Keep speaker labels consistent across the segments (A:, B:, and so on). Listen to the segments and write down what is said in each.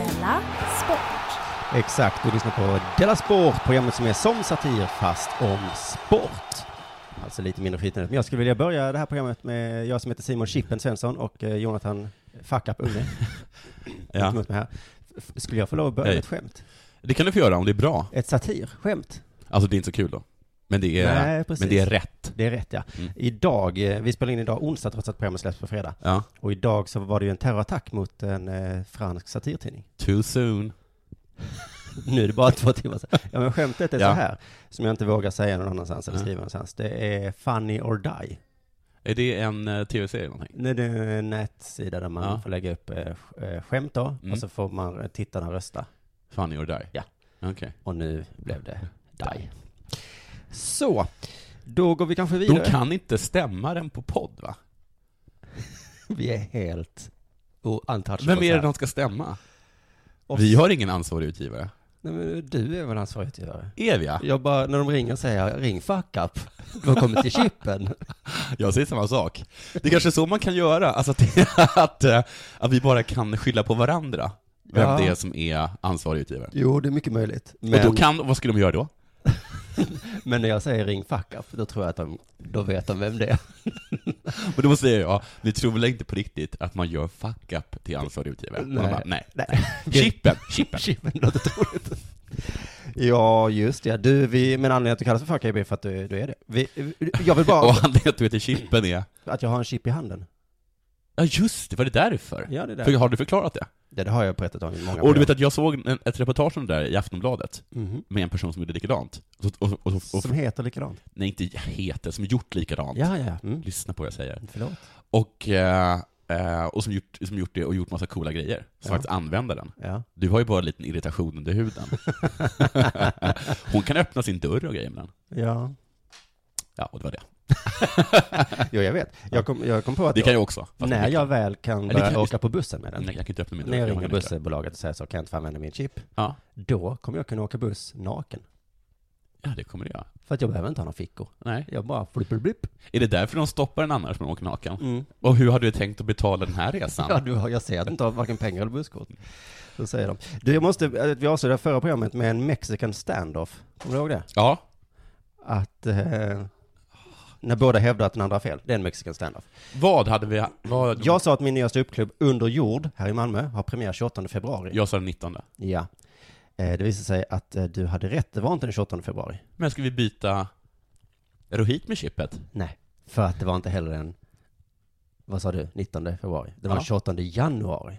A: Della Sport.
B: Exakt, du lyssnar på Della Sport, programmet som är som satir fast om sport. Alltså lite mindre skit än det. Men jag skulle vilja börja det här programmet med jag som heter Simon Chippen Svensson och eh, Jonathan Fuck Up Unge.
C: Ja.
B: Mitt emot mig här. F- Skulle jag få lov att börja med
C: Hej.
B: ett skämt?
C: Det kan du få göra om det är bra.
B: Ett satirskämt?
C: Alltså det är inte så kul då. Men det är,
B: Nej, precis.
C: men det är rätt.
B: Det är rätt ja.
C: Mm.
B: Idag, eh, vi spelar in idag onsdag trots att programmet släpps på fredag.
C: Ja.
B: Och idag så var det ju en terrorattack mot en eh, fransk satirtidning.
C: Too soon.
B: Nu är det bara två timmar sedan. Ja men skämtet är
C: Ja.
B: så här, som jag inte vågar säga någon annanstans eller
C: Ja.
B: skriva någonstans. Det är Funny or Die.
C: Är det en eh, tv-serie eller någonting?
B: Nej, det är en nätsida där man
C: Ja.
B: får lägga upp eh, sk- eh, skämt då,
C: Mm.
B: och så får man eh, tittarna rösta.
C: Funny or die?
B: Ja.
C: Okej.
B: Och nu blev det die. Så, då går vi kanske vidare.
C: De kan inte stämma den på podd va?
B: Vi är helt o- untouchables
C: Vem är det
B: här.
C: de ska stämma?
B: Och-
C: Vi har ingen ansvarig utgivare.
B: Nej, men du är väl ansvarig utgivare?
C: Är vi ja?
B: Jag bara, när de ringer säger jag, ring fuck up. Du har kommit till chippen.
C: Jag säger samma sak. Det är kanske är så man kan göra, alltså att, att, eh, att vi bara kan skylla på varandra. Vem
B: Ja.
C: det är som är ansvarig utgivare.
B: Jo, det är mycket möjligt.
C: Och
B: Men,
C: då kan, vad skulle de göra då?
B: men när jag säger ring fuck up, då tror jag att de, då vet de vem det är.
C: Och då säger jag, ni tror väl inte på riktigt att man gör fuck-up till ansvarig utgivare? Och de
B: Nej.
C: Bara, nej.
B: Nej.
C: Chippen, chippen.
B: Chippen låter troligt. Ja, just det. Du, vi, men anledningen att du kallas för fuck up är för att du, du är det. Vi, jag vill
C: Och
B: bara
C: anledningen till att du heter Chippen är,
B: att jag har en chip i handen.
C: ja just det, var det därför?
B: Ja, det är
C: För,
B: det.
C: har du förklarat det?
B: Det, det har jag berättat om i många
C: Och du vet
B: program.
C: att jag såg en, ett reportage om det där i Aftonbladet,
B: Mhm.
C: med en person som gjorde likadant. Och, och, och, och, och
B: Som heter likadant.
C: nej inte heter, som gjort likadant.
B: Ja, ja, ja. Mm.
C: Lyssna på vad jag säger.
B: Förlåt.
C: Och, eh, eh, och som, gjort, som gjort det och gjort massa coola grejer,
B: Ja.
C: som faktiskt använder den.
B: Ja.
C: Du har ju bara en liten irritation under huden. Hon kan öppna sin dörr och grejer med den.
B: Ja.
C: Ja, och det var det.
B: Jo, jag vet. Jag kom, jag kom på att
C: Det kan jag också. fast
B: när
C: mycket.
B: jag väl kan
C: det
B: börja
C: kan-
B: åka på bussen med den.
C: Nej, jag kan inte öppna min dörr.
B: när jag
C: har
B: ringer
C: ingen dörr.
B: bussbolaget och säger så, kan jag inte få använda min chip?
C: Ja.
B: Då kommer jag kunna åka buss naken.
C: ja, det kommer det göra.
B: För att jag behöver inte ha några fickor.
C: Nej.
B: Jag bara flipp, flipp, flipp.
C: Är det därför de stoppar den annars när de åker naken?
B: Mm.
C: Och hur hade du tänkt att betala den här resan?
B: Ja, du har, jag ser att du inte har varken pengar eller busskort. Så säger de. Du, jag måste, eh, vi avslutade förra programmet med en mexican standoff. Kommer du ihåg det?
C: Ja.
B: Att, eh, när båda hävdar att den andra har fel. Det är en mexican standoff.
C: Vad hade vi... Vad,
B: Jag sa att min nya ståuppklubb Under jord här i Malmö har premiär 28 februari.
C: jag sa den 19.
B: Ja. Eh, det visade sig att eh, du hade rätt, det var inte den 28 februari.
C: Men ska vi byta Rohit med chippet?
B: Nej, för att det var inte heller den, vad sa du, 19 februari? Det var den
C: Ja.
B: 28 januari.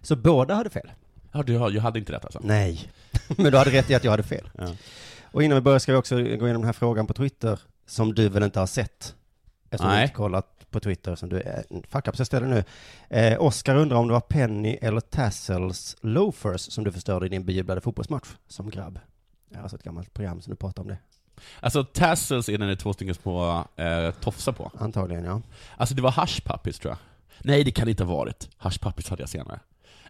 B: Så båda hade fel.
C: Ja, du, har- jag hade inte rätt alltså.
B: Nej, men du hade rätt i att jag hade fel.
C: Ja.
B: Och innan vi börjar ska vi också gå igenom den här frågan på Twitter, som du väl inte har sett? Eftersom du
C: Nej.
B: inte kollat på Twitter, som du är en fuck up, så jag ställer nu. Eh, Oskar undrar om det var Penny eller Tassels loafers som du förstörde i din bejublade fotbollsmatch som grabb. Jag har sett ett gammalt program som du pratar om det.
C: Alltså, tassels är när det är två stycken små eh, tofsar på.
B: Antagligen, ja.
C: Alltså, det var hash puppies, tror jag. Nej, det kan det inte ha varit. Hash puppies hade jag senare.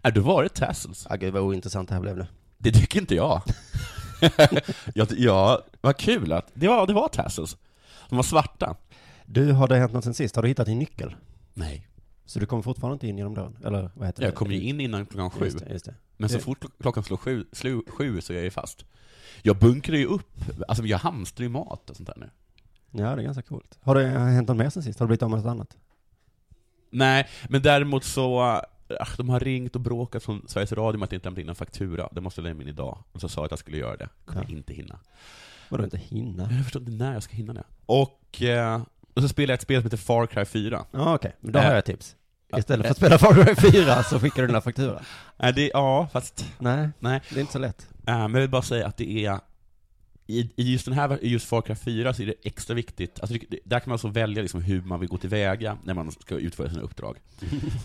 C: Är du varit tassels?
B: Ah, gud vad ointressant det här blev nu.
C: Det tycker inte jag. jag ja, vad kul att... Det var, det var tassels. De var svarta.
B: Du, har det hänt något sen sist? Har du hittat din nyckel?
C: Nej.
B: Så du kom fortfarande inte in genom dörren? Eller vad heter det?
C: Jag kom ju in innan klockan sju.
B: Just det, just det.
C: Men så
B: Det-
C: fort klockan slår sju, slu, sju så är jag ju fast. Jag bunkrar ju upp, alltså jag hamstrar ju mat och sånt där nu.
B: Ja, det är ganska coolt. Har det hänt något mer sen sist? Har du blivit av med något annat?
C: Nej, men däremot så, ah, de har ringt och bråkat från Sveriges Radio om att jag inte lämnat in en faktura. Det måste jag lämna in idag. Och så sa jag att jag skulle göra det. Kommer
B: Ja.
C: inte hinna.
B: Vadå inte hinna?
C: Jag förstår inte när jag ska hinna det. Och, eh, och så spelar jag ett spel som heter Far Cry 4.
B: Ja, okej. Men Då har
C: Äh.
B: jag ett tips. Istället för att spela Far Cry 4 så skickar du den här fakturan.
C: Nej, Äh, det, ja, fast...
B: Nej,
C: Nej.
B: det är inte så lätt.
C: Eh, men jag vill bara säga att det är i, i just den här, i just Far Cry 4 så är det extra viktigt, alltså det, där kan man alltså välja liksom hur man vill gå tillväga när man ska utföra sina uppdrag.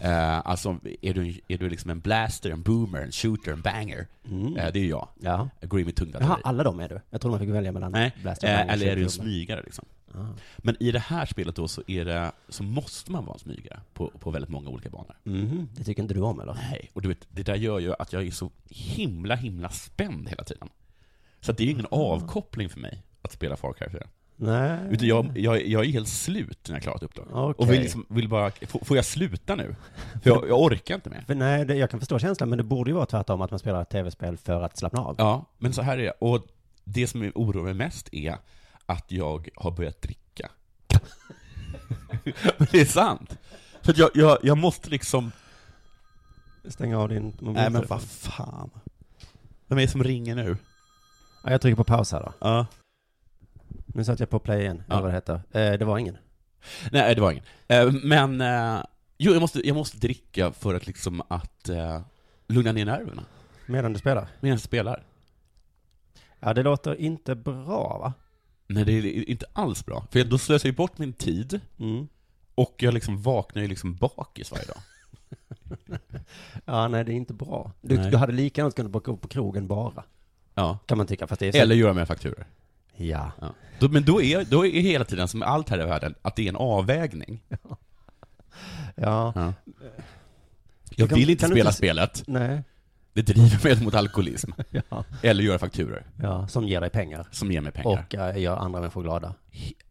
C: Eh, alltså, är du, är du liksom en blaster, en boomer, en shooter, en banger? Eh, det är ju jag.
B: Mm. Ja.
C: Green med tungdatalleri.
B: Jaha, alla de är du? Jag trodde man fick välja mellan
C: Nej,
B: Blaster och
C: eh,
B: Bang
C: eller är du en
B: och
C: smygare liksom.
B: Ah.
C: Men i det här spelet då så är det, så måste man vara en smygare på, på väldigt många olika banor.
B: Mhm, det tycker inte du om eller?
C: Nej, och du vet, det där gör ju att jag är så himla, himla spänd hela tiden. Så att det är ju ingen avkoppling för mig att spela Far Cry 4.
B: Nej.
C: Utan jag, jag, jag är helt slut när jag klarat uppdraget.
B: Okej.
C: Och vill, liksom, vill bara, får får jag sluta nu? För jag, jag orkar inte mer.
B: För nej, det, jag kan förstå känslan, men det borde ju vara tvärtom att man spelar ett tv-spel för att slappna av.
C: Ja, men så här är det. Och det som oroar mig mest är att jag har börjat dricka. men det är sant. För att jag, jag, jag måste liksom...
B: Stänga av din mobil.
C: Nej men vad fan. Vem är det som ringer nu?
B: Ja, jag trycker på paus här då.
C: Ja.
B: Nu satte jag på play igen,
C: Ja.
B: eller vad det heter. Eh, det var ingen.
C: Nej, det var ingen. Eh, Men, eh, jo, jag måste, jag måste dricka för att liksom att eh, lugna ner nerverna
B: Medan du spelar.
C: medan jag spelar.
B: Ja, det låter inte bra va?
C: Nej, det är inte alls bra. För då slösar jag ju bort min tid
B: Mm.
C: och jag liksom vaknar ju liksom bakis varje dag.
B: Ja, nej det är inte bra. Du,
C: Nej.
B: du hade lika gärna kunnat gå på krogen bara,
C: Ja.
B: kan man tycka. Fast det är så...
C: Eller göra mer fakturor.
B: Ja.
C: Ja. Då, men då är, då är hela tiden, som med allt här i världen, att det är en avvägning.
B: Ja.
C: Ja. Jag
B: Kan-
C: vill inte
B: kan du
C: spela
B: inte-
C: spelet.
B: Nej.
C: Det driver mig mot alkoholism.
B: Ja.
C: Eller göra fakturor
B: ja. Som ger dig pengar.
C: som ger mig pengar.
B: Och eh, gör andra människor glada.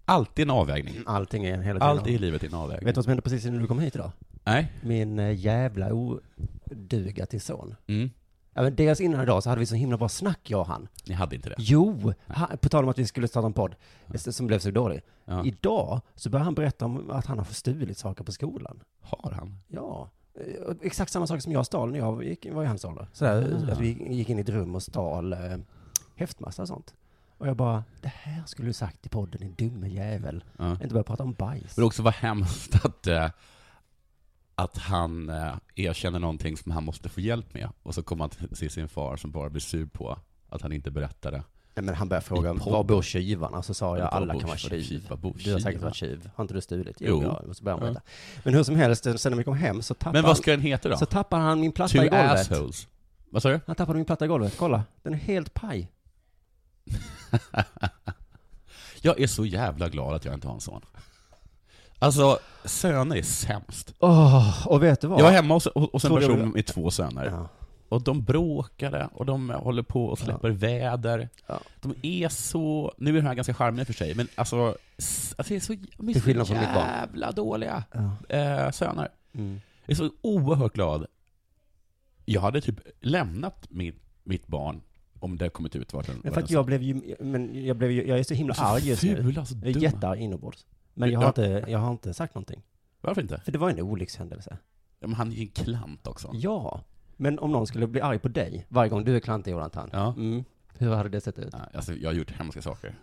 C: Alltid en avvägning.
B: Allting är en hela tiden.
C: Allt i livet är en avvägning.
B: Vet du vad som hände precis innan du kom hit idag?
C: Nej.
B: Min eh, jävla oduga till son.
C: Mm.
B: Ja, men dels innan idag så hade vi så himla bra snack jag och han.
C: Ni hade inte det.
B: Jo, han, på tal om att vi skulle starta en podd s- som blev så dålig.
C: Ja.
B: Idag så började han berätta om att han har stulit saker på skolan.
C: Har han?
B: Ja, eh, och exakt samma saker som jag stal när jag gick, var i hans ålder. Sådär, att vi gick in i ett rum och stal eh, häftmassa och sånt. Och jag bara, det här skulle du sagt i podden din dumme jävel.
C: Ja.
B: Inte börja prata om bajs.
C: Men också vad hemskt att, eh, att han eh, erkänner någonting som han måste få hjälp med. Och så kommer han till- till sin far som bara blir sur på att han inte berättade.
B: Nej, men han började fråga,
C: I podden.
B: var bor tjuvarna? Så sa jag,
C: Var
B: alla
C: bor
B: kan vara
C: tjuvar?
B: tjuv.
C: Var bor
B: Du har säkert
C: tjuvar?
B: varit tjuv. Har inte du stulit?
C: Jo.
B: Ja, och så började han
C: Ja.
B: berätta. Men hur som helst, sen när vi kom hem så tappade
C: Men vad ska den heta då?
B: han, så tappade han min platta
C: Two
B: i golvet.
C: assholes. Vad sa du?
B: Han tappade min platta i golvet. Kolla, den är helt paj.
C: Jag är så jävla glad att jag inte har en son. Alltså, söner är sämst.
B: Åh, och vet du vad?
C: Jag var hemma hos, hos en
B: Så gör vi
C: person med två söner.
B: Ja.
C: Och de bråkade och de håller på och släpper väder.
B: Ja.
C: De är så, nu är de här ganska charmiga för sig, men alltså, s- alltså det är så, de är
B: Till skillnad
C: så
B: från mitt barn.
C: jävla dåliga
B: Ja.
C: eh, söner.
B: Mm.
C: Jag är så oerhört glad. Jag hade typ lämnat mitt, mitt barn om det kommit ut vart den
B: Men för att jag blev ju, men jag blev ju, jag är så himla
C: så
B: arg just nu.
C: fula, så
B: Jag är
C: dumma.
B: jättearg inombords. Men jag har,
C: Ja.
B: inte, jag har inte sagt någonting.
C: Varför inte?
B: För det var en olyckshändelse.
C: Ja, Men han är ju en klant också.
B: Ja. Men om någon skulle bli arg på dig varje gång du är klantig, Jonathan.
C: Ja.
B: Mm. Hur hade det sett ut?
C: Ja, Alltså, jag har gjort hemska saker.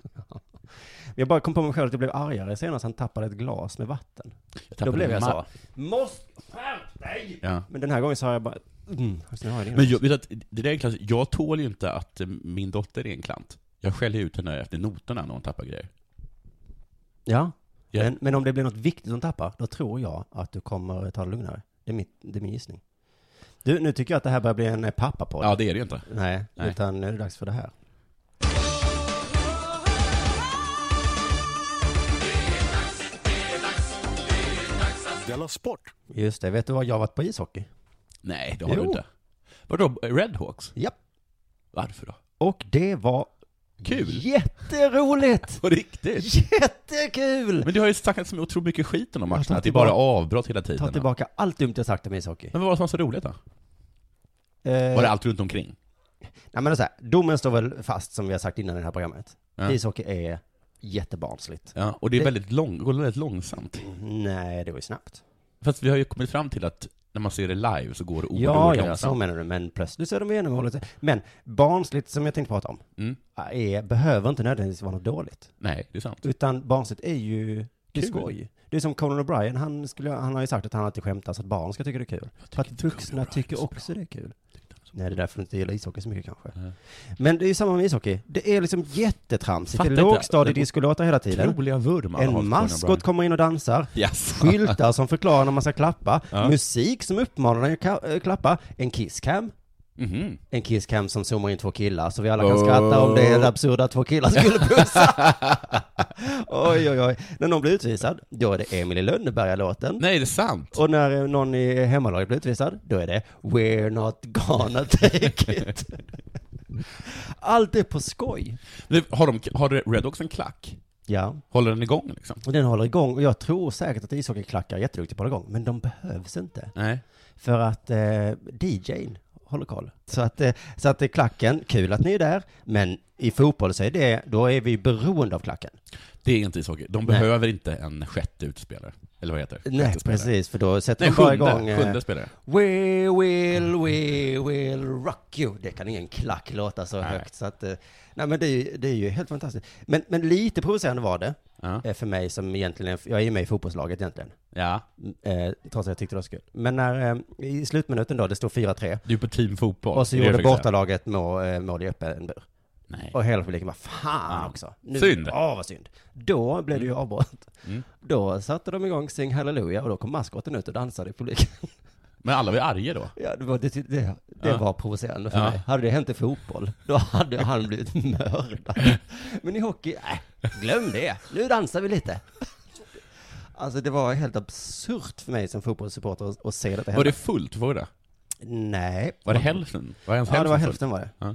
B: Jag bara kom på mig själv att jag blev argare senast han tappade ett glas med vatten.
C: Jag
B: Då
C: tappade
B: blev jag
C: ma-
B: så. Måste... Skärp dig!
C: Ja.
B: Men den här gången sa jag bara... Mm, så nu har jag det
C: Men jag, vet att, det där är klart, jag tål ju inte att eh, min dotter är en klant. Jag skäller ut henne efter noterna när hon tappar grejer.
B: Ja.
C: Ja.
B: Men, men om det blir något viktigt som tappar, då tror jag att du kommer ta det lugnare. Det är, mitt, det är min gissning. Du, nu tycker jag att det här börjar bli en eh, pappapodd.
C: Ja, det är det ju inte.
B: Nej,
C: Nej.
B: utan nu är det dags för det här.
D: Della Sport!
B: Just det, vet du vad jag har varit på ishockey?
C: Nej, det har
B: Jo.
C: du inte. Vadå, Redhawks?
B: Japp.
C: Varför då?
B: Och det var
C: Kul!
B: Jätteroligt!
C: På riktigt!
B: Jättekul!
C: Men du har ju snackats med otroligt mycket skit om de
B: Jag tar
C: matcherna, att det är bara
B: tillbaka-
C: avbrott hela tiden.
B: Ta tillbaka allt dumt jag sagt om ishockey.
C: Men vad var det som var så roligt då?
B: Eh,
C: Var det allt runt omkring?
B: Nej men så här, domen står väl fast som vi har sagt innan i det här programmet.
C: Ja.
B: Ishockey är jättebarnsligt.
C: Ja, och det är
B: Det-
C: väldigt lång, går väldigt långsamt.
B: Nej, det var ju snabbt.
C: Fast vi har ju kommit fram till att när man ser det live så går det oerhört
B: Ja, ja, så
C: långsamt.
B: menar du. Men plötsligt så är de genomhållet. Men barnsligt, som jag tänkte prata om,
C: Mm.
B: är, behöver inte nödvändigtvis vara något dåligt.
C: Nej, det är sant.
B: Utan barnsligt är ju det är
C: Kul.
B: skoj. Det är som Conan O'Brien, han, skulle, han har ju sagt att han alltid skämtar så att barn ska tycka det är kul. För att vuxna tycker också det är kul. Nej, det är därför du inte gillar ishockey så mycket kanske. Men det är ju samma med ishockey. Det är liksom jättetramsigt.
C: Fattar
B: Det är
C: inte.
B: lågstadiediscolåtar hela tiden.
C: Otroliga vurm alla har för
B: En maskot kommer in och dansar.
C: Yes.
B: Skyltar som förklarar när man ska klappa.
C: Ja.
B: Musik som uppmanar en att ka- äh, klappa. En kisscam.
C: Mhm.
B: En kisscam som zoomar in två killar så vi alla kan skratta om det är det absurda att två killar skulle pussa. oj, oj, oj. När någon blir utvisad, då är det Emil i Lönneberga-låten.
C: Nej, det är sant!
B: Och när eh, någon i hemmalaget blir utvisad, då är det We're not gonna take it. Allt är på skoj.
C: Nu, Har, de, har Red Ox en klack?
B: Ja,
C: Håller den igång liksom?
B: och den håller igång. Och jag tror säkert att ishockeyklackar är jätteduktiga på att hålla igång, men de behövs inte.
C: Nej.
B: För att eh, DJn håller koll. Så att, eh, så att det är klacken, kul att ni är där, men i fotboll så är det, då är vi beroende av klacken.
C: Det är inte ishockey. De
B: Nej.
C: behöver inte en sjätte utespelare. Eller vad heter det?
B: Nej,
C: Sjätte spelare.
B: precis, för då sätter
C: Nej,
B: de bara
C: sjunde.
B: igång... eh,
C: Sjunde spelare.
B: We will, we will rock you. Det kan ingen klack låta så
C: Nej.
B: högt. Så att, eh, nej men det är, ju- det är ju helt fantastiskt. Men, men lite provocerande var det,
C: Ja.
B: eh, för mig som egentligen, jag är ju med i fotbollslaget egentligen.
C: ja.
B: Mm, Eh, trots att jag tyckte det var så kul. Men när, eh, i slutminuten då, det stod 4-3.
C: Du är på team fotboll.
B: Och så
C: Det är
B: gjorde
C: det jag försöker
B: bortalaget mål, eh, mål i öppen bur.
C: säga. Nej.
B: Och hela publiken bara fan
C: Ja.
B: också.
C: Synd. Mm.
B: Ja, vad synd. Då blev det ju avbrott. Då satte de igång Sing Hallelujah och då kom maskoten ut och dansade i publiken.
C: Men alla var ju arga då.
B: Ja, det var, det, det, det
C: Ja.
B: var provocerande för
C: Ja.
B: mig. Hade det hänt i fotboll, då hade han blivit mördad. Men i hockey, nej, glöm det. Nu dansar vi lite. Alltså det var helt absurt för mig som fotbollssupporter att, att se detta
C: Var
B: hända.
C: det fullt? Var det?
B: Nej.
C: Var det hälften? Var ens
B: Ja, det var
C: fullt?
B: hälften var det.
C: Ja.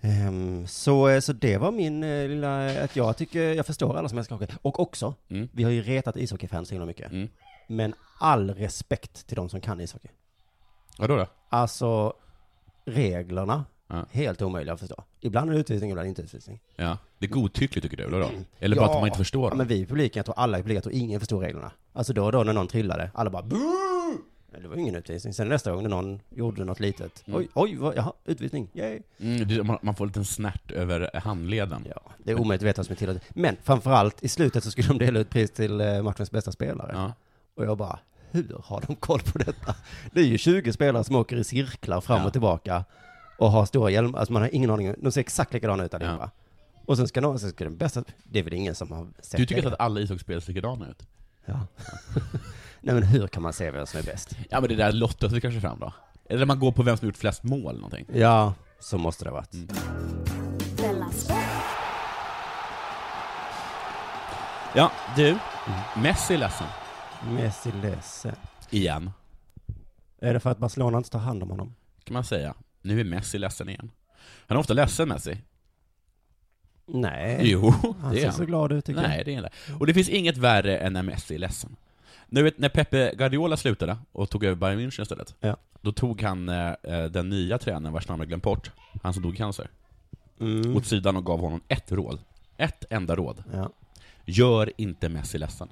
B: Ehm, så, så det var min eh, lilla, att jag tycker, jag förstår alla som älskar hockey. Och också,
C: Mm.
B: vi har ju retat ishockeyfans så himla mycket.
C: Mm.
B: Men all respekt till de som kan ishockey.
C: Vadå då?
B: Alltså, reglerna,
C: Ja.
B: helt omöjliga att förstå. Ibland är det utvisning, ibland inte utvisning.
C: Ja. Det är godtyckligt tycker du, eller då? Eller bara
B: Ja.
C: att man inte förstår
B: Ja,
C: dem?
B: men vi i publiken, jag tror alla i publiken, jag tror ingen förstod reglerna. Alltså då och då när någon trillade, alla bara "Buu!" Men Det var ingen utvisning. Sen nästa gång när någon gjorde något litet, oj, oj, vad, jaha, utvisning, yay.
C: Mm, det- man, man får en liten snärt över handleden.
B: Ja, det är omöjligt att veta vad som är tillåtet. Men framförallt, i slutet så skulle de dela ut pris till eh, matchens bästa spelare.
C: Ja.
B: Och jag bara, hur har de koll på detta? Det är ju 20 spelare som åker i cirklar fram
C: Ja.
B: och tillbaka och har stora hjälmar. Alltså man har ingen aning. De ser exakt likadana ut allihopa. Och sen ska någon, sen ska den bästa, det är väl ingen som har sett
C: Du tycker
B: det?
C: att alla ishockeyspelare ser likadana ut?
B: Ja. Nej men hur kan man se vem som är bäst?
C: Ja men det där lottas vi kanske fram då? Eller man går på vem som gjort flest mål eller någonting?
B: Ja, så måste det ha varit.
A: Della Sport.
C: Ja, du.
B: Mm.
C: Messi är ledsen.
B: Messi ledsen.
C: Igen.
B: Är det för att Barcelona inte tar hand om honom?
C: Kan man säga. Nu är Messi ledsen igen. Han är ofta ledsen Messi.
B: Nej.
C: Jo,
B: Han
C: det är
B: ser
C: han.
B: så glad ut tycker jag.
C: Nej, det är inte. Och det finns inget värre än när Messi är ledsen. Nu vet, när Pepe Guardiola slutade och tog över Bayern München istället,
B: Ja.
C: då tog han eh, eh, den nya tränaren vars namn jag glömt bort, han som dog i cancer,
B: Mm.
C: åt sidan och gav honom ett råd. Ett enda råd.
B: Ja.
C: Gör inte Messi ledsen.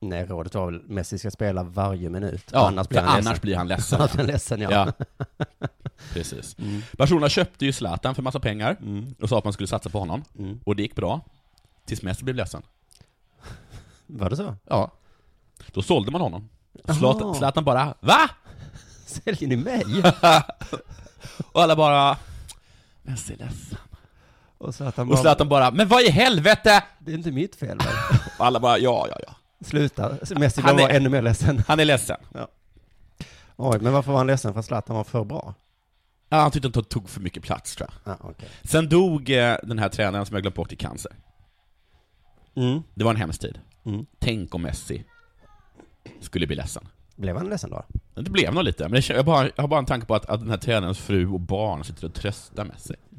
B: Nej, rådet var väl Messi ska spela varje minut.
C: Ja,
B: annars blir
C: för
B: han
C: annars
B: ledsen.
C: blir han ledsen.
B: Annars blir han ledsen, ja. Mm.
C: Ja, precis. Barcelona köpte ju Zlatan för massa pengar och sa att man skulle satsa på honom.
B: Mm.
C: Och det gick bra, tills Messi blev ledsen.
B: Var det så?
C: Ja. Då sålde man honom.
B: Jaha.
C: Zlatan, Zlatan bara VA?
B: Säljer ni mig?
C: Och alla bara Messi är ledsen.
B: Och Zlatan
C: Och Zlatan bara Men vad i helvete?
B: det är inte mitt fel väl?
C: Och alla bara ja, ja, ja.
B: Sluta. Så Messi
C: Han
B: blev
C: är-
B: är... ännu mer ledsen.
C: Han är ledsen.
B: Oj, men varför var han ledsen? För att Zlatan var för bra?
C: Ja, han tyckte att han tog för mycket plats tror jag.
B: Ja, okej.
C: Sen dog eh, den här tränaren som jag glömt bort i cancer.
B: Mm.
C: Det var en hemsk tid.
B: Mm.
C: Tänk om Messi skulle bli ledsen.
B: Blev han ledsen då?
C: Det blev nog lite, men det kän- jag, bara, jag har bara en tanke på att, att den här tränarens fru och barn sitter och tröstar Messi.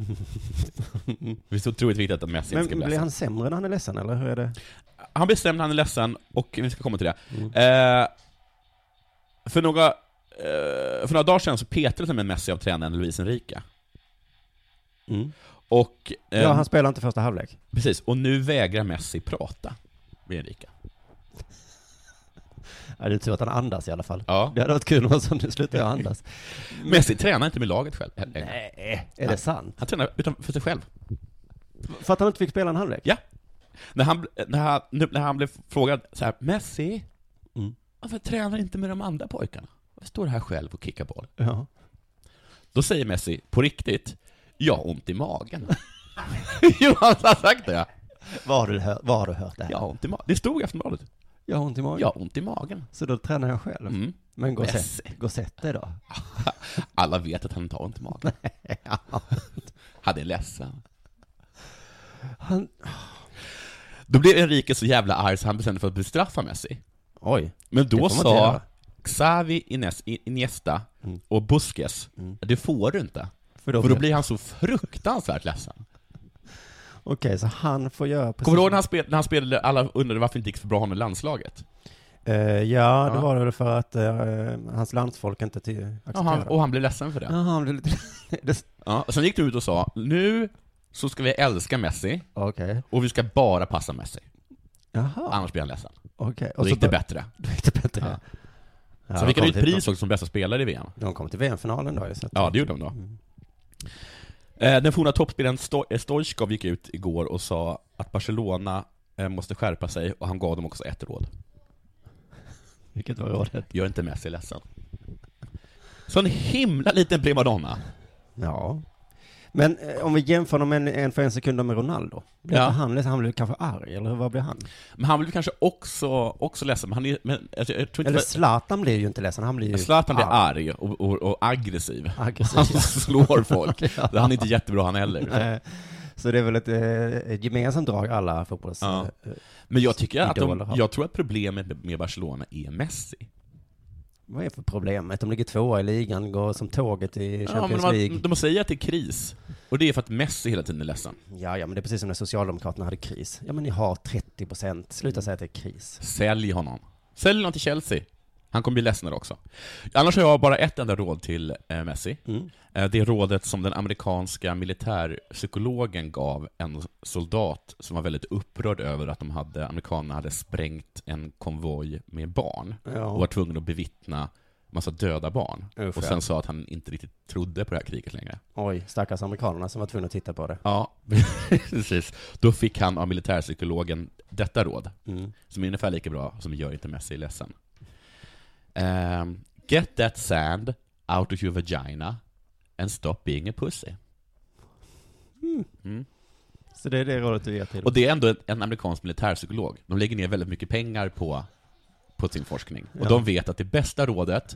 C: det är så otroligt viktigt att Messi inte ska
B: Men
C: bli
B: blir
C: ledsen.
B: han sämre när han är ledsen, eller hur är det?
C: Han bestämde, han är ledsen, och vi ska komma till det.
B: Mm.
C: Eh, för, några, eh, för några dagar sedan så petades med Messi av tränaren Luis Enrique. Och, eh,
B: Mm. Ja, han spelar inte första halvlek.
C: Precis, och nu vägrar Messi prata med Enrique.
B: Ja, det är tur att han andas i alla fall.
C: Ja.
B: Det hade varit kul om han sa, nu slutar jag andas.
C: Messi tränar inte med laget själv. heller.
B: Nej, är det sant?
C: Han tränar utanför sig själv.
B: För att han inte fick spela en halvlek?
C: Ja. När han, när han, nu- när han blev frågad så här, Messi, varför tränar inte med de andra pojkarna? Varför står du här själv och kickar boll?
B: Ja.
C: Då säger Messi, på riktigt, jag har ont i magen. jo, han har sagt det. ja.
B: Var har du hört, var har du hört det här?
C: Jag har ont i magen. Det stod i Aftonbladet.
B: Jag har ont i magen.
C: Jag har ont i magen.
B: Så då tränar jag själv.
C: Mm.
B: Men gå och
C: Messi.
B: sätt- gå och sätt dig då.
C: Alla vet att han inte har ont i magen. Han är ledsen.
B: Han,
C: Då blev Enrique så jävla arg så han bestämde sig för att bestraffa Messi.
B: oj.
C: Men
B: Det får
C: då
B: man inte göra. Mm.
C: sa Xavi Ines, Iniesta och Busquets, det får du inte.
B: För då
C: För då
B: blir- Alltså-
C: blir han så fruktansvärt ledsen.
B: Okej, så han får göra precis...
C: Kommer du ihåg när han, spel, när han spelade, alla undrade varför det inte gick så bra honom i landslaget?
B: Eh, ja, det
C: Ja.
B: var det väl för att eh, hans landsfolk inte till,
C: Ja, han,
B: accepterade
C: och han blev ledsen för det.
B: Jaha, han blev lite... det-
C: Ja, och sen gick du ut och sa, nu så ska vi älska Messi,
B: Okej.
C: och vi ska bara passa Messi.
B: Jaha,
C: Annars blir han ledsen.
B: okej.
C: Då gick det
B: bör-
C: bättre.
B: Då gick det bättre. Ja.
C: Så
B: de
C: fick han
B: kom
C: ju ett
B: till-
C: pris också som bästa spelare i VM.
B: De kom till VM-finalen då ju, så att-
C: Ja, det gjorde de då.
B: Mm.
C: Eh, Den forna toppspelaren Sto- eh, Stoichkov gick ut igår och sa att Barcelona eh, måste skärpa sig, och han gav dem också ett råd.
B: Vilket var rådet?
C: Gör inte Messi ledsen. Så en himla liten primadonna.
B: Ja. Men eh, om vi jämför dem en, en för en sekund med Ronaldo. Blev
C: Ja.
B: inte han ledsen? Han blev kanske arg, eller vad blev han?
C: Men han blev kanske också, också ledsen, men han är, men, alltså, jag tror
B: Eller
C: inte...
B: Zlatan blir ju inte ledsen, han blir ju...
C: Zlatan blir arg och, och, och aggressiv.
B: Aggressiv,
C: Han
B: ja.
C: slår folk. Han är inte jättebra han heller.
B: Eh, Så det är väl ett, eh, ett gemensamt drag alla fotbolls...
C: Ja.
B: eh,
C: Men jag, tycker att
B: Idoler
C: de,
B: har-
C: jag tror att problemet med- med Barcelona är Messi.
B: Vad är det för problemet? De ligger tvåa i ligan, går som tåget i
C: Ja, men
B: Champions
C: de,
B: League.
C: de säger att det är kris, och det är för att Messi hela tiden är ledsen.
B: Ja, ja, men det är precis som när Socialdemokraterna hade kris. Ja, men ni har 30 procent. Sluta säga att det är kris.
C: Sälj honom. Sälj honom till Chelsea. Han kommer bli ledsnare också. Annars har jag bara ett enda råd till eh, Messi.
B: Mm.
C: Eh, det är rådet som den amerikanska militärpsykologen gav en soldat som var väldigt upprörd över att de hade, amerikanerna hade sprängt en konvoj med barn
B: Ja.
C: och var tvungen att bevittna massa döda barn.
B: Usch,
C: och
B: ja.
C: sen sa att han inte riktigt trodde på det här kriget längre.
B: Oj, stackars amerikanerna som var tvungna att titta på det.
C: Ja, precis. Då fick han av militärpsykologen detta råd, som är ungefär lika bra som gör inte Messi ledsen. Ehm, get that sand out of your vagina and stop being a pussy.
B: Så det är det rådet du ger till
C: Och det är ändå en- en amerikansk militärpsykolog. De lägger ner väldigt mycket pengar på, på sin forskning. Och de vet att det bästa rådet,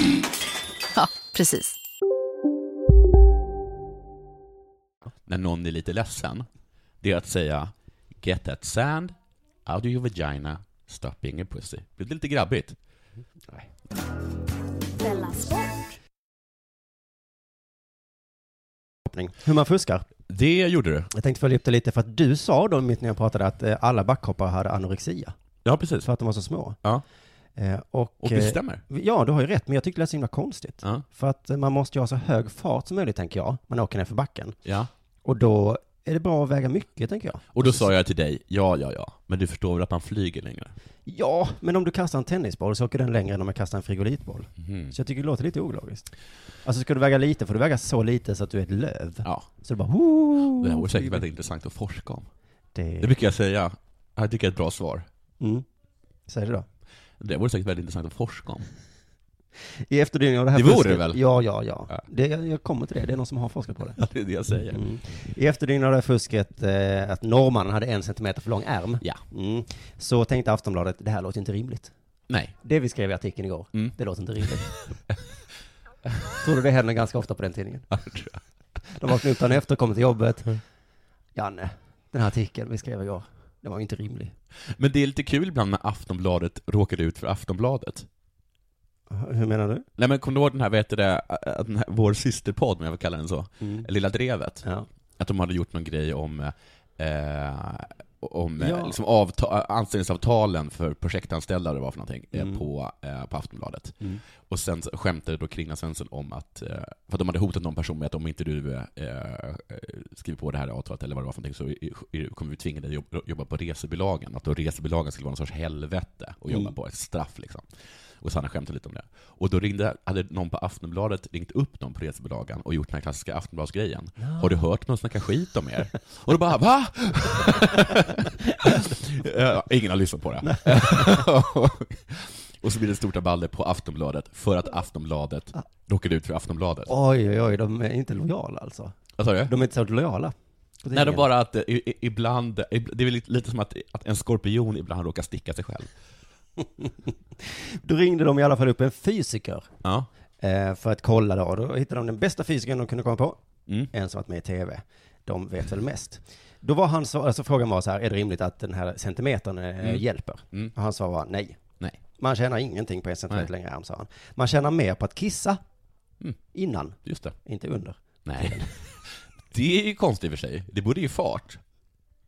E: Ja, precis.
C: när någon är lite ledsen, det är att säga Get that sand out of your vagina, stop being a pussy. Det är lite grabbigt.
A: Della Sport.
B: hoppning. Hur man fuskar.
C: Det gjorde du.
B: Jag tänkte följa upp det lite för att du sa då mitt när jag pratade att eh, alla backhoppare hade anorexia.
C: Ja, precis.
B: För att de var så små.
C: Ja.
B: Eh, Och,
C: Och det stämmer.
B: eh, Ja, du har ju rätt, men jag tyckte det lät så himla konstigt. För att eh, man måste ju ha så hög fart som möjligt, tänker jag, man åker ner för backen.
C: Ja.
B: Och då är det bra att väga mycket, tänker jag.
C: Och då sa jag till dig, ja, ja, ja, men du förstår väl att man flyger längre?
B: Ja, men om du kastar en tennisboll så åker den längre än om jag kastar en frigolitboll.
C: Mm.
B: Så jag tycker det låter lite ologiskt. Alltså ska du väga lite, får du väga så lite så att du är ett löv.
C: Ja.
B: Så du bara Woo!
C: Det här vore säkert väldigt intressant att forska om.
B: Det-
C: Det brukar jag säga. Jag tycker det är ett bra svar.
B: Mm. Säg det då.
C: Det vore säkert väldigt intressant att forska om.
B: I efterdyning av det här
C: Det vore
B: fusket-
C: det väl?
B: Ja, ja, ja. Det, jag kommer till det, det är någon som har forskat på det.
C: Det är det jag säger.
B: I efterdyningen av det här fusket, eh, att norrmannen hade en centimeter för lång ärm,
C: Ja.
B: mm, så tänkte Aftonbladet, det här låter inte rimligt.
C: Nej.
B: Det vi skrev i artikeln igår,
C: Mm.
B: det låter inte rimligt. tror du det händer ganska ofta på den tidningen? De vaknar upp dagen efter, kommer till jobbet.
C: Mm.
B: Janne, den här artikeln vi skrev igår, den var ju inte rimlig.
C: Men det är lite kul ibland när Aftonbladet råkar ut för Aftonbladet.
B: Hur menar du?
C: Nej men kommer du ihåg den här, vad heter det, att den här, vår systerpodd, om jag vill kalla den så,
B: Mm.
C: Lilla Drevet? Att de hade gjort någon grej om, eh, om eh,
B: Ja.
C: liksom avta- anställningsavtalen för projektanställda eller vad för någonting, eh,
B: Mm.
C: på, eh, på Aftonbladet.
B: Mm.
C: Och sen så skämtade då Kringla Svensson om att, eh, för att de hade hotat någon person med att om inte du eh, eh, skriver på det här avtalet eller vad det var för någonting så i- i- kommer vi tvinga dig att jobba, jobba på resebilagan. Att då resebilagan skulle vara någon sorts helvete att jobba
B: Mm.
C: på, ett straff liksom. Och Sanna skämtade lite om det. Och då ringde, hade någon på Aftonbladet ringt upp någon på resebilagan och gjort den här klassiska Aftonbladsgrejen.
B: Ja.
C: Har du hört någon snacka skit om er? Och då bara va? Eh, Ingen har lyssnat på det. och så blir det stort rabalder på Aftonbladet för att Aftonbladet råkade ut för Aftonbladet.
B: Oj, oj, oj, de är inte lojala alltså.
C: Vad sa du?
B: De är inte särskilt lojala.
C: Nej, det är bara att eh, i- i- ibland, ib- det är väl lite- lite som att, att en skorpion ibland råkar sticka sig själv.
B: Då ringde de i alla fall upp en fysiker.
C: Ja.
B: Eh, för att kolla då. Då hittade de den bästa fysikern de kunde komma på.
C: Mm.
B: En som varit med i tv. De vet väl mest. Då var hans svar, alltså frågan var så här, är det rimligt att den här centimetern eh,
C: Mm.
B: hjälper?
C: Mm.
B: Och hans svar var nej.
C: Nej.
B: Man tjänar ingenting på en centimeter
C: Nej.
B: längre arm, sa han. Man tjänar mer på att kissa
C: Mm.
B: innan,
C: Just det.
B: inte under.
C: Nej. Det är ju konstigt i och för sig. Det borde ju fart.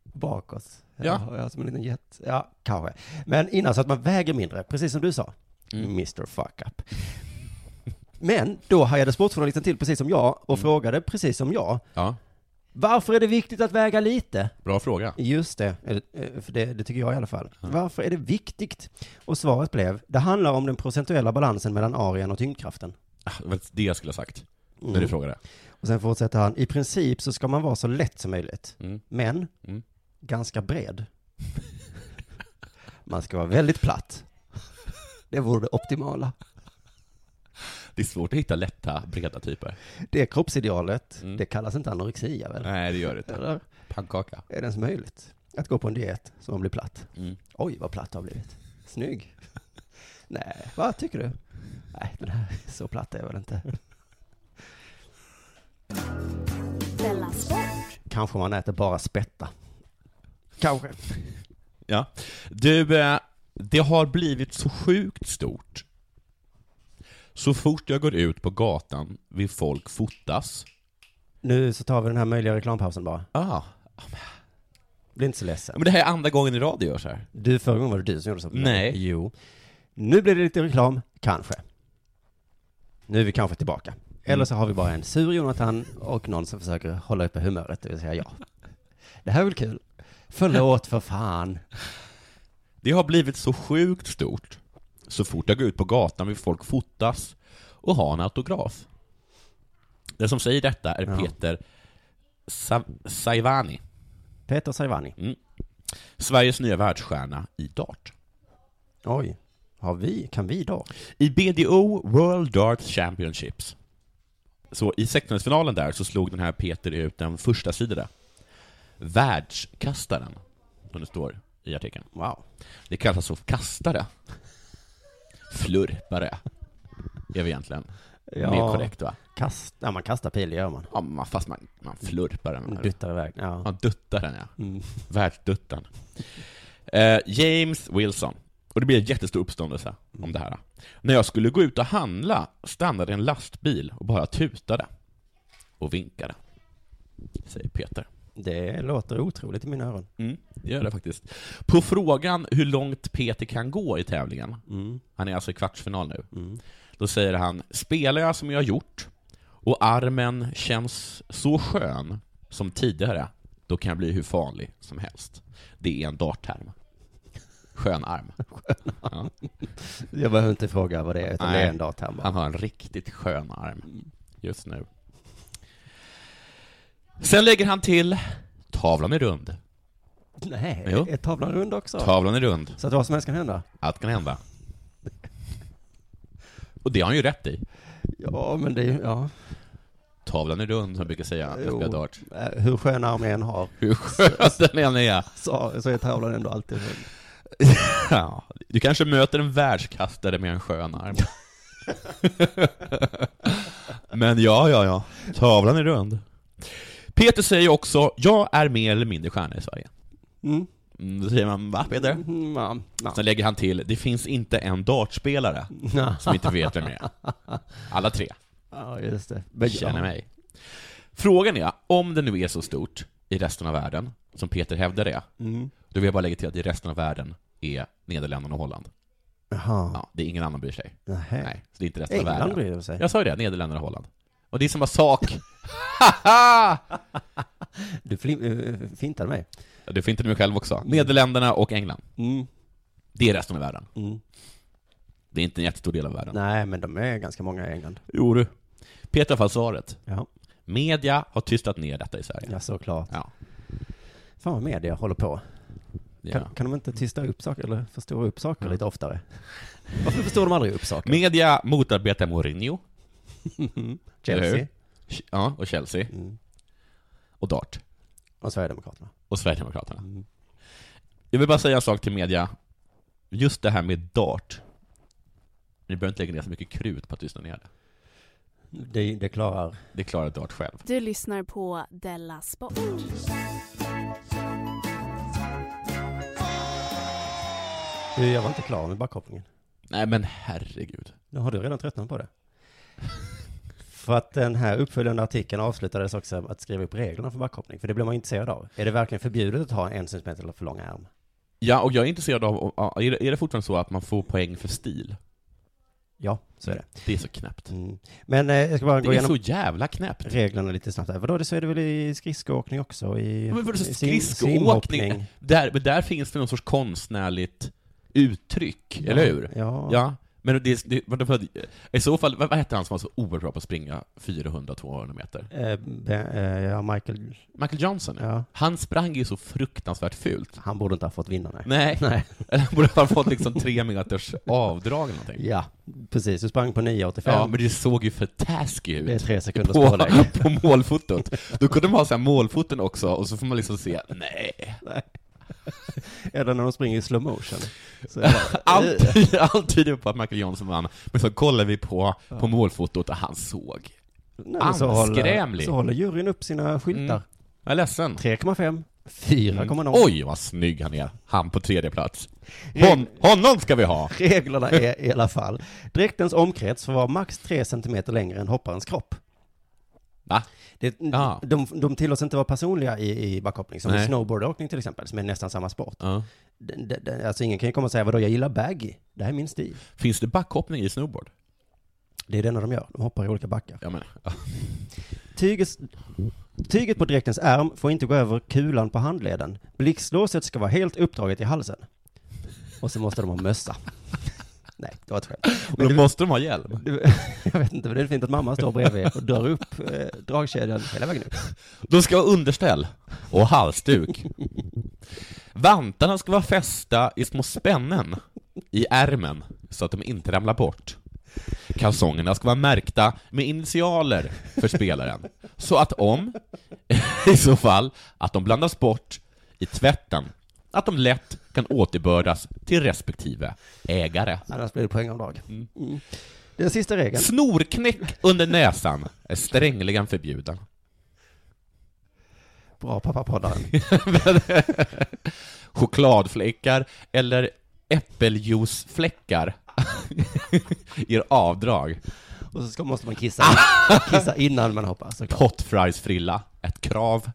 B: Bakåt.
C: Ja.
B: ja som en liten jet. Ja, kanske. Men innan så att man väger mindre, precis som du sa.
C: Mm.
B: Mr Fuck Up. Men då hajade sportjournalisten till precis som jag
C: Mm.
B: och frågade precis som jag.
C: Ja.
B: Varför är det viktigt att väga lite?
C: Bra fråga.
B: Just det, eller, eh, för det, det tycker jag i alla fall. Varför är det viktigt? Och svaret blev, det handlar om den procentuella balansen mellan arean och tyngdkraften.
C: Ah, Det var det jag skulle ha sagt, när du
B: Mm.
C: frågade.
B: Och sen fortsätter han, i princip så ska man vara så lätt som möjligt.
C: Mm.
B: Men,
C: Mm.
B: ganska bred. man ska vara väldigt platt. Det vore det optimala.
C: Det är svårt att hitta lätta, breda typer.
B: Det är kroppsidealet,
C: Mm.
B: det kallas inte anorexia väl?
C: Nej, det gör det inte.
B: Eller?
C: Pannkaka.
B: Är det ens möjligt? Att gå på en diet som man blir platt?
C: Mm.
B: Oj, vad platt jag har blivit. Snygg. Nej, vad tycker du? Nej, den här, så platt är jag väl inte.
A: Della Sport.
B: Kanske man äter bara spätta. Kanske.
C: Ja. Du, eh, det har blivit så sjukt stort. Så fort jag går ut på gatan vill folk fotas.
B: Nu så tar vi den här möjliga reklampausen bara.
C: Ah.
B: Bli inte så ledsen.
C: Men det här är andra gången i rad det görs här.
B: Du, förra gången var det du som gjorde så.
C: Nej.
B: Jo. Nu blir det lite reklam, kanske. Nu är vi kanske tillbaka.
C: Mm.
B: Eller så har vi bara en sur Jonathan och någon som försöker hålla uppe humöret, det vill säga jag. Det här är väl kul? Förlåt för fan.
C: Det har blivit så sjukt stort. Så fort jag går ut på gatan vill folk fotas och ha en autograf. Den som säger detta är
B: Ja.
C: Peter Sa- Saivani.
B: Peter Saivani.
C: Mm. Sveriges nya världsstjärna i dart.
B: Oj. Har vi, kan vi då?
C: I BDO World Darts Championships Så i 16-finalen där så slog den här Peter ut den första sidan Världskastaren Som det står i artikeln
B: Wow.
C: Det kallas alltså kastare Flurpare Är vi egentligen mer korrekt va?
B: Kast, ja, man kastar pil, det gör man.
C: Ja, man- fast man, man flurpar den här.
B: Duttar iväg. Ja.
C: Man duttar den ja
B: Mm.
C: Världsduttan. Eh, James Wilson. Och det blev en jättestor uppståndelse om det här. När jag skulle gå ut och handla stannade en lastbil och bara tutade. Och vinkade. Säger Peter.
B: Det låter otroligt i mina öron.
C: Mm, det gör det faktiskt. På frågan hur långt Peter kan gå i tävlingen,
B: Mm.
C: han är alltså i kvartsfinal nu, då säger han ”Spelar jag som jag har gjort och armen känns så skön som tidigare, då kan jag bli hur farlig som helst.” Det är en dartterm. Skön arm. Ja.
B: Jag behöver inte fråga vad det är, utan det är en datorn bara.
C: Han har en riktigt skön arm just nu. Sen lägger han till Tavlan är rund.
B: Nej,
C: Jo.
B: är tavlan rund också?
C: Tavlan är rund.
B: Så att vad som helst kan hända?
C: Allt kan hända. Och det har han ju rätt i.
B: Ja, men det är ju- ja.
C: Tavlan är rund, som jag brukar säga när jag
B: Jo.
C: spelar dart.
B: Eh, Hur skön arm en har.
C: Hur skön den än är.
B: Så, så är tavlan ändå alltid rund.
C: Ja, du kanske möter en världskastare med en skön arm. Men ja, ja, ja. Tavlan är rund. Peter säger också, jag är mer eller mindre stjärna i Sverige.
B: Mm.
C: Mm, Då säger man, va Peter?
B: Mm, ja, ja.
C: Sen lägger han till, det finns inte en dartspelare som inte vet vem jag är. Alla tre
B: Ja, just det. Men
C: känner
B: ja.
C: mig. Frågan är, om det nu är så stort i resten av världen, som Peter hävdar det,
B: Mm.
C: då vill jag bara lägga till att i resten av världen är Nederländerna och Holland.
B: Jaha.
C: Ja, det är ingen annan bryr sig.
B: Nähä.
C: Nej, så det är inte resten av
B: England
C: världen.
B: bryr sig.
C: Jag sa ju det, Nederländerna och Holland. Och det är samma sak.
B: Du flim- eh, fintade mig.
C: Ja, Du får inte mig själv också. Nederländerna och England.
B: Mm.
C: Det är resten av världen.
B: Mm.
C: Det är inte en jättestor del av världen.
B: Nej, men de är ganska många i England.
C: Jo du. Peter har i alla fall svaret.
B: Ja.
C: Media har tystat ner detta i Sverige.
B: Ja, såklart.
C: Ja.
B: Fan vad media håller på.
C: Ja.
B: Kan, kan de inte tysta upp saker, eller förstora upp saker lite oftare? Varför förstår de aldrig upp saker?
C: Media motarbetar Mourinho. Eller
B: Chelsea
C: hur? Ja, och Chelsea.
B: Mm.
C: Och Dart.
B: och Sverigedemokraterna.
C: Och Sverigedemokraterna.
B: Mm.
C: Jag vill bara säga en sak till media. Just det här med Dart. Ni behöver inte lägga ner så mycket krut på att lyssna ner det.
B: Det, det klarar...
C: Det klarar Dart själv.
A: Du lyssnar på Della Sport.
B: Du, jag var inte klar med backkopplingen.
C: Nej men herregud.
B: Nu har du redan tröttnat på det. För att den här uppföljande artikeln avslutades också med att skriva upp reglerna för backhoppning, för det blir man intresserad av. Är det verkligen förbjudet att ha en centimeter för lång arm?
C: Ja, och jag är intresserad av, ja, är det- är det fortfarande så att man får poäng för stil?
B: Ja, så är det.
C: Det är så knäppt.
B: Mm. Men eh, jag ska bara
C: Det
B: gå
C: är så
B: igenom
C: jävla knäppt.
B: reglerna lite snabbt här. Vadå, det så är det väl i skridskoåkning också? och I,
C: Men vadå
B: i sim-
C: skridskoåkning?
B: simhoppning?
C: Där, men där finns det någon sorts konstnärligt uttryck, eller hur?
B: Ja.
C: Ja. Men det, det, vadå för, i så fall, vad, vad hette han som var så oerhört bra på att springa 400-200 meter?
B: Eh, ben, eh, ja, Michael,
C: Michael Johnson, ja.
B: ja.
C: Han sprang ju så fruktansvärt fult.
B: Han borde inte ha fått vinna, nej.
C: Nej.
B: Nej.
C: Eller han borde ha fått liksom tre meters avdrag eller någonting.
B: Ja, precis. Du sprang på 9,85.
C: Ja, men det såg ju för taskig ut.
B: Det är tre sekunders
C: på,
B: pålägg.
C: på målfotot. Då kunde man ha så här målfoton också, och så får man liksom se, nej.
B: Eller när de springer i slow motion. Så är det-
C: Allt, allt tyder på att Michael Johnson vann, men så kollar vi på, på målfotot och han såg.
B: Nej, men så, håller,
C: Anskrämlig. Mm.
B: så håller juryn upp sina skyltar.
C: Jag är ledsen.
B: 3,5, 4,0.
C: Mm. Oj, vad snygg han är. Han på tredje plats. Hon, honom ska vi ha!
B: Reglerna är i alla fall. Dräktens omkrets får vara max 3 cm längre än hopparens kropp.
C: Va?
B: Det,
C: Ja.
B: de, de tillåts inte vara personliga i, i backhoppning, som
C: Ah. Nej.
B: i snowboardåkning till exempel, som är nästan samma sport.
C: Ja.
B: Den- den- den- alltså ingen kan ju komma och säga, vadå, jag gillar baggy, det här är min stil.
C: Finns det backhoppning i snowboard?
B: Det är det enda de gör, de hoppar i olika backar.
C: Ja, men,
B: Tyges, tyget på dräktens ärm får inte gå över kulan på handleden. Blixtlåset ska vara helt uppdraget i halsen. Och så måste de ha mössa. Nej, det var ett skämt.
C: då
B: Men det-
C: måste de ha hjälm.
B: Du, jag vet inte, men det är fint att mamma står bredvid och drar upp eh, dragkedjan hela vägen upp.
C: De ska ha underställ och halsduk. Vantarna ska vara fästa i små spännen i ärmen så att de inte ramlar bort. Kalsongerna ska vara märkta med initialer för spelaren, så att om, i så fall, att de blandas bort i tvätten, att de lätt kan återbördas till respektive ägare.
B: Annars blir det poängavdrag. Mm. Den sista regeln.
C: Snorknäck under näsan är strängligen förbjuden.
B: Bra pappapoddaren.
C: chokladfläckar eller äppeljuicefläckar er avdrag.
B: Och så ska, måste man kissa, kissa innan man hoppar. såklart.
C: Potfries frilla, ett krav.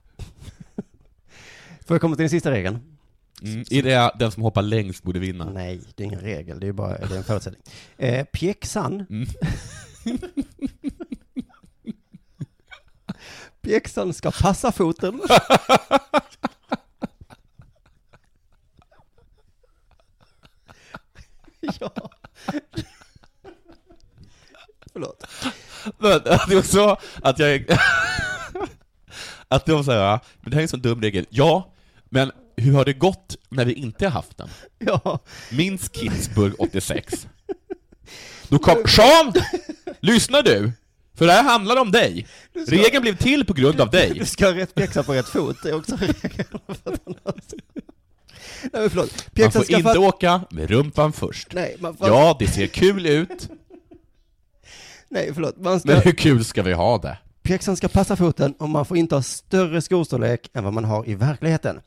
B: Får jag komma till den sista regeln?
C: Mm. Är det den som hoppar längst borde vinna?
B: Nej, det är ingen regel, det är bara det är en förutsättning. Eh, pjäxan.
C: Mm.
B: pjäxan ska passa foten. ja. Förlåt.
C: Men, det var så att jag... att de säger, ja, men det här är en sån dum regel. Ja, men hur har det gått när vi inte har haft den?
B: Ja.
C: Minns Kitzburg 86. Då kom, Sean! Lyssna du! För det här handlar om dig.
B: ska-
C: Regeln blev till på grund av dig.
B: Du ska ha rätt pjäxa på rätt fot, det är också regeln. Nej men förlåt.
C: Man
B: Pjäxan
C: får
B: ska
C: inte
B: fa-
C: åka med rumpan först.
B: Nej, man får-
C: Ja, det ser kul ut,
B: Nej förlåt, man ska...
C: men hur kul ska vi ha det?
B: Pjäxan ska passa foten och man får inte ha större skostorlek än vad man har i verkligheten.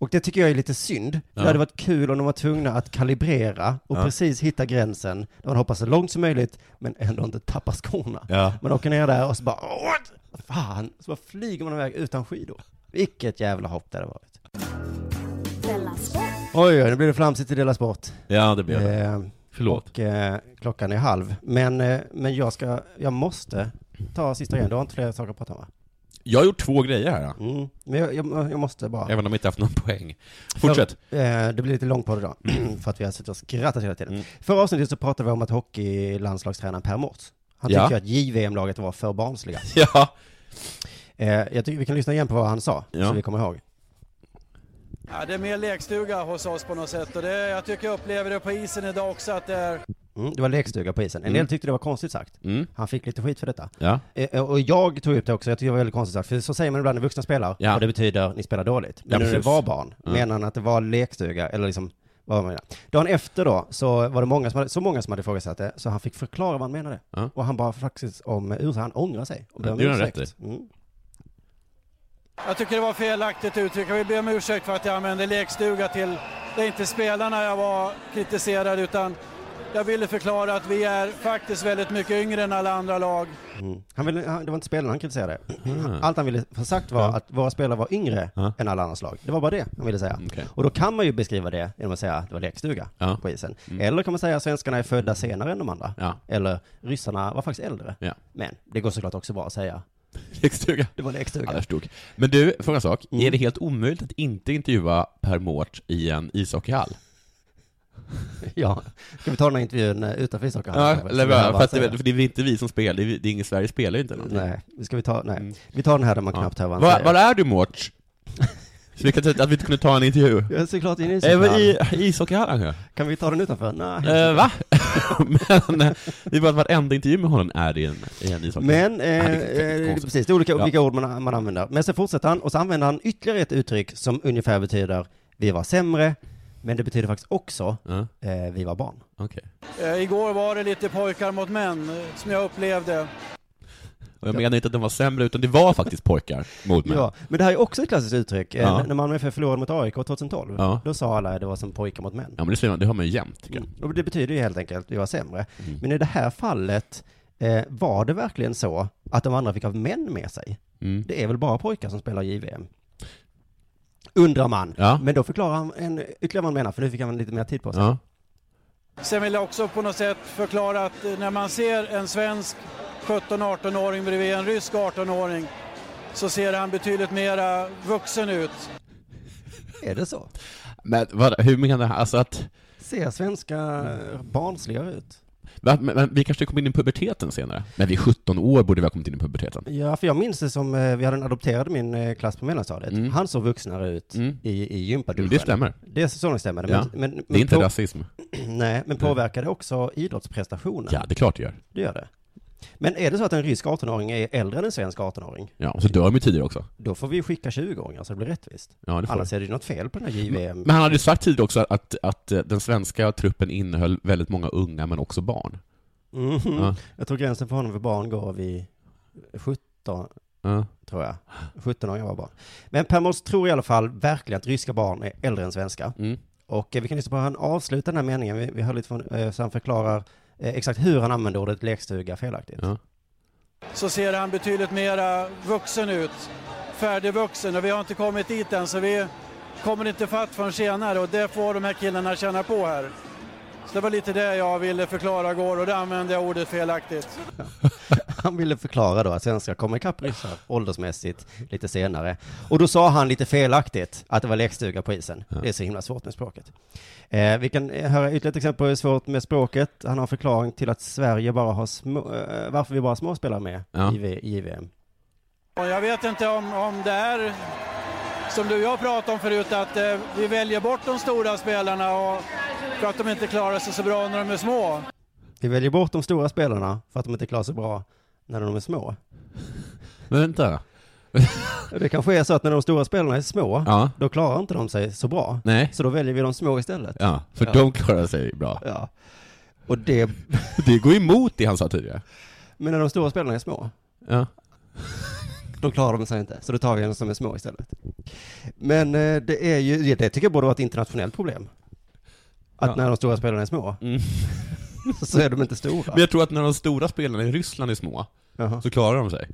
B: Och det tycker jag är lite synd.
C: Ja.
B: Det hade varit kul om de var tvungna att kalibrera och
C: Ja.
B: precis hitta gränsen där man hoppar så långt som möjligt men ändå inte tappar skorna.
C: Ja.
B: Man åker ner där och så bara "Åh, vad fan, så bara flyger man iväg utan skidor. Vilket jävla hopp det hade varit.
A: Della Sport.
B: Oj, oj, nu blir det flamsigt i Dela Sport.
C: Ja, det blev det.
B: Eh,
C: Förlåt.
B: Och eh, klockan är halv. Men, eh, men jag ska, jag måste ta sista grejen. Du har inte fler saker att prata om va?
C: Jag har gjort två grejer här. då.
B: Mm. Men jag, jag, jag måste bara...
C: Även om jag inte haft någon poäng. Fortsätt. Mm.
B: För, eh, det blir lite lång podd idag, för att vi har suttit och skrattat hela tiden. Förra avsnittet så pratade vi om att hockeylandslagstränaren Per Mårts, han
C: Ja.
B: tyckte ju att JVM-laget var för barnsliga.
C: Ja.
B: Eh, jag tycker vi kan lyssna igen på vad han sa,
C: Ja.
B: så vi kommer ihåg.
F: Ja, det är mer lekstuga hos oss på något sätt och det, jag tycker jag upplever det på isen idag också att det är...
B: Mm, det var lekstuga på isen. En
C: Mm.
B: del tyckte det var konstigt sagt.
C: Mm.
B: Han fick lite skit för detta.
C: Ja.
B: Eh, Och jag tog upp det också, jag tyckte det var väldigt konstigt sagt, för så säger man ibland när vuxna spelar,
C: Ja.
B: och det betyder ni spelar dåligt. Men
C: Ja,
B: när det
C: precis.
B: var barn,
C: Ja.
B: menar han att det var lekstuga, eller liksom, vad man menar. Dagen efter då, så var det många som hade, så många som hade ifrågasatt det, så han fick förklara vad han menade.
C: Ja.
B: Och han bara faktiskt om ursäkt, han ångrar sig. Och ber om
C: Det gör han
B: ursäkt.
C: rätt
B: Mm.
F: Jag tycker det var felaktigt uttryck. Jag vill be om ursäkt för att jag använde lekstuga till... Det är inte spelarna jag var kritiserad utan jag ville förklara att vi är faktiskt väldigt mycket yngre än alla andra lag.
B: Mm. Han ville, han, det var inte spelarna han kritiserade.
C: Mm.
B: Allt han ville ha sagt var att våra spelare var yngre
C: Ja.
B: än alla andras lag. Det var bara det han ville säga.
C: Ah. Okej.
B: Och då kan man ju beskriva det genom att säga att det var lekstuga
C: Ja. Mm.
B: på isen. Eller kan man säga att svenskarna är födda senare än de andra.
C: Ja.
B: Eller ryssarna var faktiskt äldre.
C: Ja.
B: Men det går såklart också bra att säga.
C: Lekstuga.
B: Det var lekstuga. Mm.
C: Ja, jag förstod. Men du, fråga en sak. Är det helt omöjligt att inte intervjua Per Mårt i en ishockeyhall?
B: ja. Ska vi ta den här intervjun eh, utanför ishockeyhallen?
C: Ja,
B: kanske?
C: eller
B: Ska vi höra vad
C: vad? För, att,
B: han
C: det- för det är väl inte vi som spelar, det är, det Mm. är ingen Sverige spelar ju inte någonting.
B: säger? Nej, ska vi ta, nej. Vi tar den här där man knappt hör vad han
C: Var, var
B: säger.
C: är du Mårt? Så vi kan, ta- att vi inte kunde ta en intervju?
B: Jag är såklart i en
C: Äh, vad
B: ishockeyhall.
C: I ishockeyhallen kanske?
B: Kan vi ta den utanför? Nej.
C: Eh, va? Men eh, det är bara att varenda intervju med honom är i en, i en ishockeyhall.
B: Men,
C: Ja,
B: eh,
C: det är väldigt
B: eh,
C: konstigt.
B: precis, det är olika
C: Ja.
B: vilka ord man, man använder. Men sen fortsätter han, och så använder han ytterligare ett uttryck som ungefär betyder vi var sämre, men det betyder faktiskt också
C: Ja,
B: eh, vi var barn.
C: okej.
F: Eh, igår var det lite pojkar mot män eh, som jag upplevde.
C: Och jag menar inte att de var sämre, utan det var faktiskt pojkar mot mig.
B: Ja, men det här är också ett klassiskt uttryck. Eh,
C: Ja.
B: När Malmö FF förlorade mot AIK 2012,
C: Ja.
B: då sa alla att det var som pojkar mot män.
C: Ja, men det, säger man, det har man ju jämt, tycker jag.
B: Mm. Och det betyder ju helt enkelt att vi var sämre.
C: Mm.
B: Men i det här fallet, eh, var det verkligen så att de andra fick ha män med sig?
C: Mm.
B: Det är väl bara pojkar som spelar JVM? Undrar man.
C: Ja.
B: Men då förklarar han en, ytterligare vad han menar, för nu fick han lite mer tid på sig.
C: Ja.
F: Sen vill jag också på något sätt förklara att eh, när man ser en svensk 17-18-åring bredvid en rysk 18-åring så ser han betydligt mera vuxen ut.
B: Är det så?
C: Men vad, hur menar han? Alltså att...
B: Ser svenska
C: Mm.
B: barnsligare ut?
C: Va? Men, men, vi kanske kommer in i puberteten senare? Men vid 17 år borde vi ha kommit in i puberteten.
B: Ja, för jag minns det som, eh, vi hade en adopterad i min eh, klass på mellanstadiet.
C: Mm.
B: Han såg vuxnare ut
C: Mm.
B: i, i
C: Jo,
B: gympaduschen.
C: det stämmer.
B: Det är så det stämmer. Men,
C: Ja.
B: men,
C: Det är
B: men
C: inte
B: på-
C: rasism.
B: Nej, men påverkar det också idrottsprestationen?
C: Ja, det är klart det gör.
B: Det gör det. Men är det så att en rysk 18-åring är äldre än en svensk 18-åring,
C: Ja, och så dör de ju tidigare också.
B: då får vi ju skicka 20-åringar så det blir rättvist.
C: Ja, det får
B: Annars är det ju något fel på den här JVM.
C: Men han hade ju sagt tidigare också att, att eh, den svenska truppen innehöll väldigt många unga, men också barn.
B: Mhm.
C: Ja.
B: Jag tror gränsen för honom för barn går vid 17,
C: Ja.
B: tror jag. 17-åringar var barn. Men Per Mårts tror i alla fall verkligen att ryska barn är äldre än svenska.
C: Mm.
B: Och eh, vi kan lyssna på hur han avslutar den här meningen. Vi, vi hör lite från, eh, så han förklarar eh, exakt hur han använder ordet lekstuga felaktigt.
C: Ja.
F: Så ser han betydligt mera vuxen ut. Färdigvuxen och vi har inte kommit dit än så vi kommer inte fatt förrän senare och det får de här killarna känna på här. Så det var lite det jag ville förklara igår och där använde jag ordet felaktigt.
B: Han ville förklara då att svenskar kommer ikapp ryssar åldersmässigt lite senare. Och då sa han lite felaktigt att det var lekstuga på isen. Det är så himla svårt med språket. Eh, vi kan höra ytterligare ett exempel på hur svårt med språket. Han har en förklaring till att Sverige bara har små, eh, varför vi bara har småspelare med
F: Ja.
B: i, V- i VM.
F: Och jag vet inte om, om det är som du och jag pratade om förut att eh, vi väljer bort de stora spelarna och för att de inte klarar sig så bra när de är små.
B: Vi väljer bort de stora spelarna för att de inte klarar sig bra när de är små.
C: Men vänta.
B: Det kanske är så att när de stora spelarna är små,
C: Ja.
B: då klarar inte de sig så bra.
C: Nej.
B: Så då väljer vi de små istället.
C: Ja, för de klarar sig bra.
B: Ja. Och det...
C: det går emot det han sa tidigare.
B: Men när de stora spelarna är små,
C: Ja.
B: då klarar de sig inte. Så då tar vi en som är små istället. Men eh, det är ju, det tycker jag borde vara ett internationellt problem. Att
C: Ja. Mm.
B: när de stora spelarna är små, så är de inte stora.
C: Men jag tror att när de stora spelarna i Ryssland är små, så klarar de sig.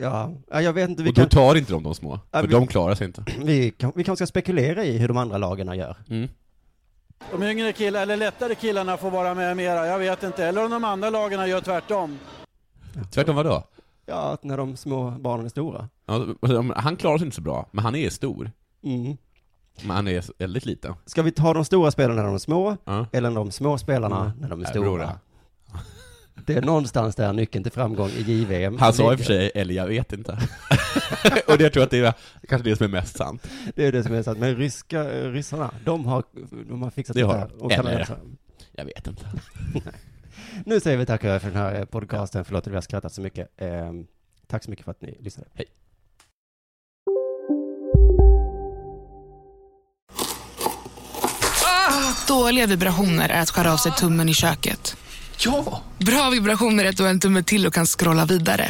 B: Ja, ja, jag vet inte.
C: Och då tar inte de de små,
B: Ja,
C: för
B: vi-
C: de klarar sig inte.
B: Vi, kan, vi kanske ska spekulera i hur de andra lagarna gör.
F: De yngre killarna, eller lättare killarna får vara med mera, jag vet inte. Eller om de andra lagarna gör tvärtom.
C: Tvärtom vadå?
B: Ja, att när de små barnen är stora.
C: Ja, de- Han klarar sig inte så bra, men han är stor.
B: Mm.
C: Men han är väldigt liten.
B: Ska vi ta de stora spelarna när de är små,
C: Ja.
B: eller de små spelarna när de är
C: Nej,
B: stora?
C: bror, ja.
B: Det är någonstans där nyckeln till framgång i JVM
C: Han sa i och
B: ligger.
C: för sig, eller jag vet inte. och det, jag tror att det är kanske det som är mest sant.
B: Det är det som är sant. Men ryska, eh, ryssarna, de har, de har fixat
C: Det har
B: här
C: de.
B: och kallar
C: Eller-
B: det så.
C: Jag vet inte.
B: Nu säger vi tack och hej för den här eh, podcasten. Förlåt att vi har skrattat så mycket. Eh, Tack så mycket för att ni lyssnade.
C: Hej.
G: Dåliga vibrationer är att skära av sig tummen i köket. Ja! Bra vibrationer är att du har en tumme till och kan scrolla vidare.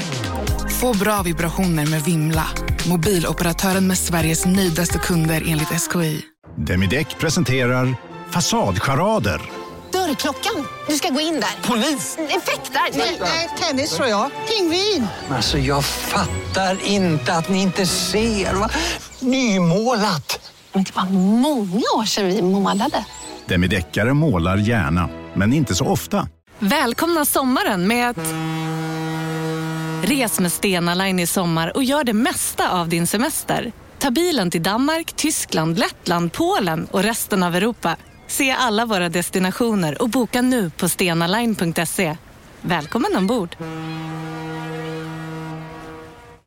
G: Få bra vibrationer med Vimla. Mobiloperatören med Sveriges nöjdaste kunder enligt SKI.
H: Demideck presenterar Fasadcharader.
I: Dörrklockan. Du ska gå in där. Polis? Effektar? Nej, tennis tror jag. Pingvin.
J: Alltså jag fattar inte att ni inte ser. Va? Nymålat.
I: Men det var många år sedan vi målade.
H: Demideckare målar gärna, men inte så ofta.
K: Välkomna sommaren med att... Res med Stena Line i sommar och gör det mesta av din semester. Ta bilen till Danmark, Tyskland, Lettland, Polen och resten av Europa. Se alla våra destinationer och boka nu på stenaline.se. Välkommen E. ombord!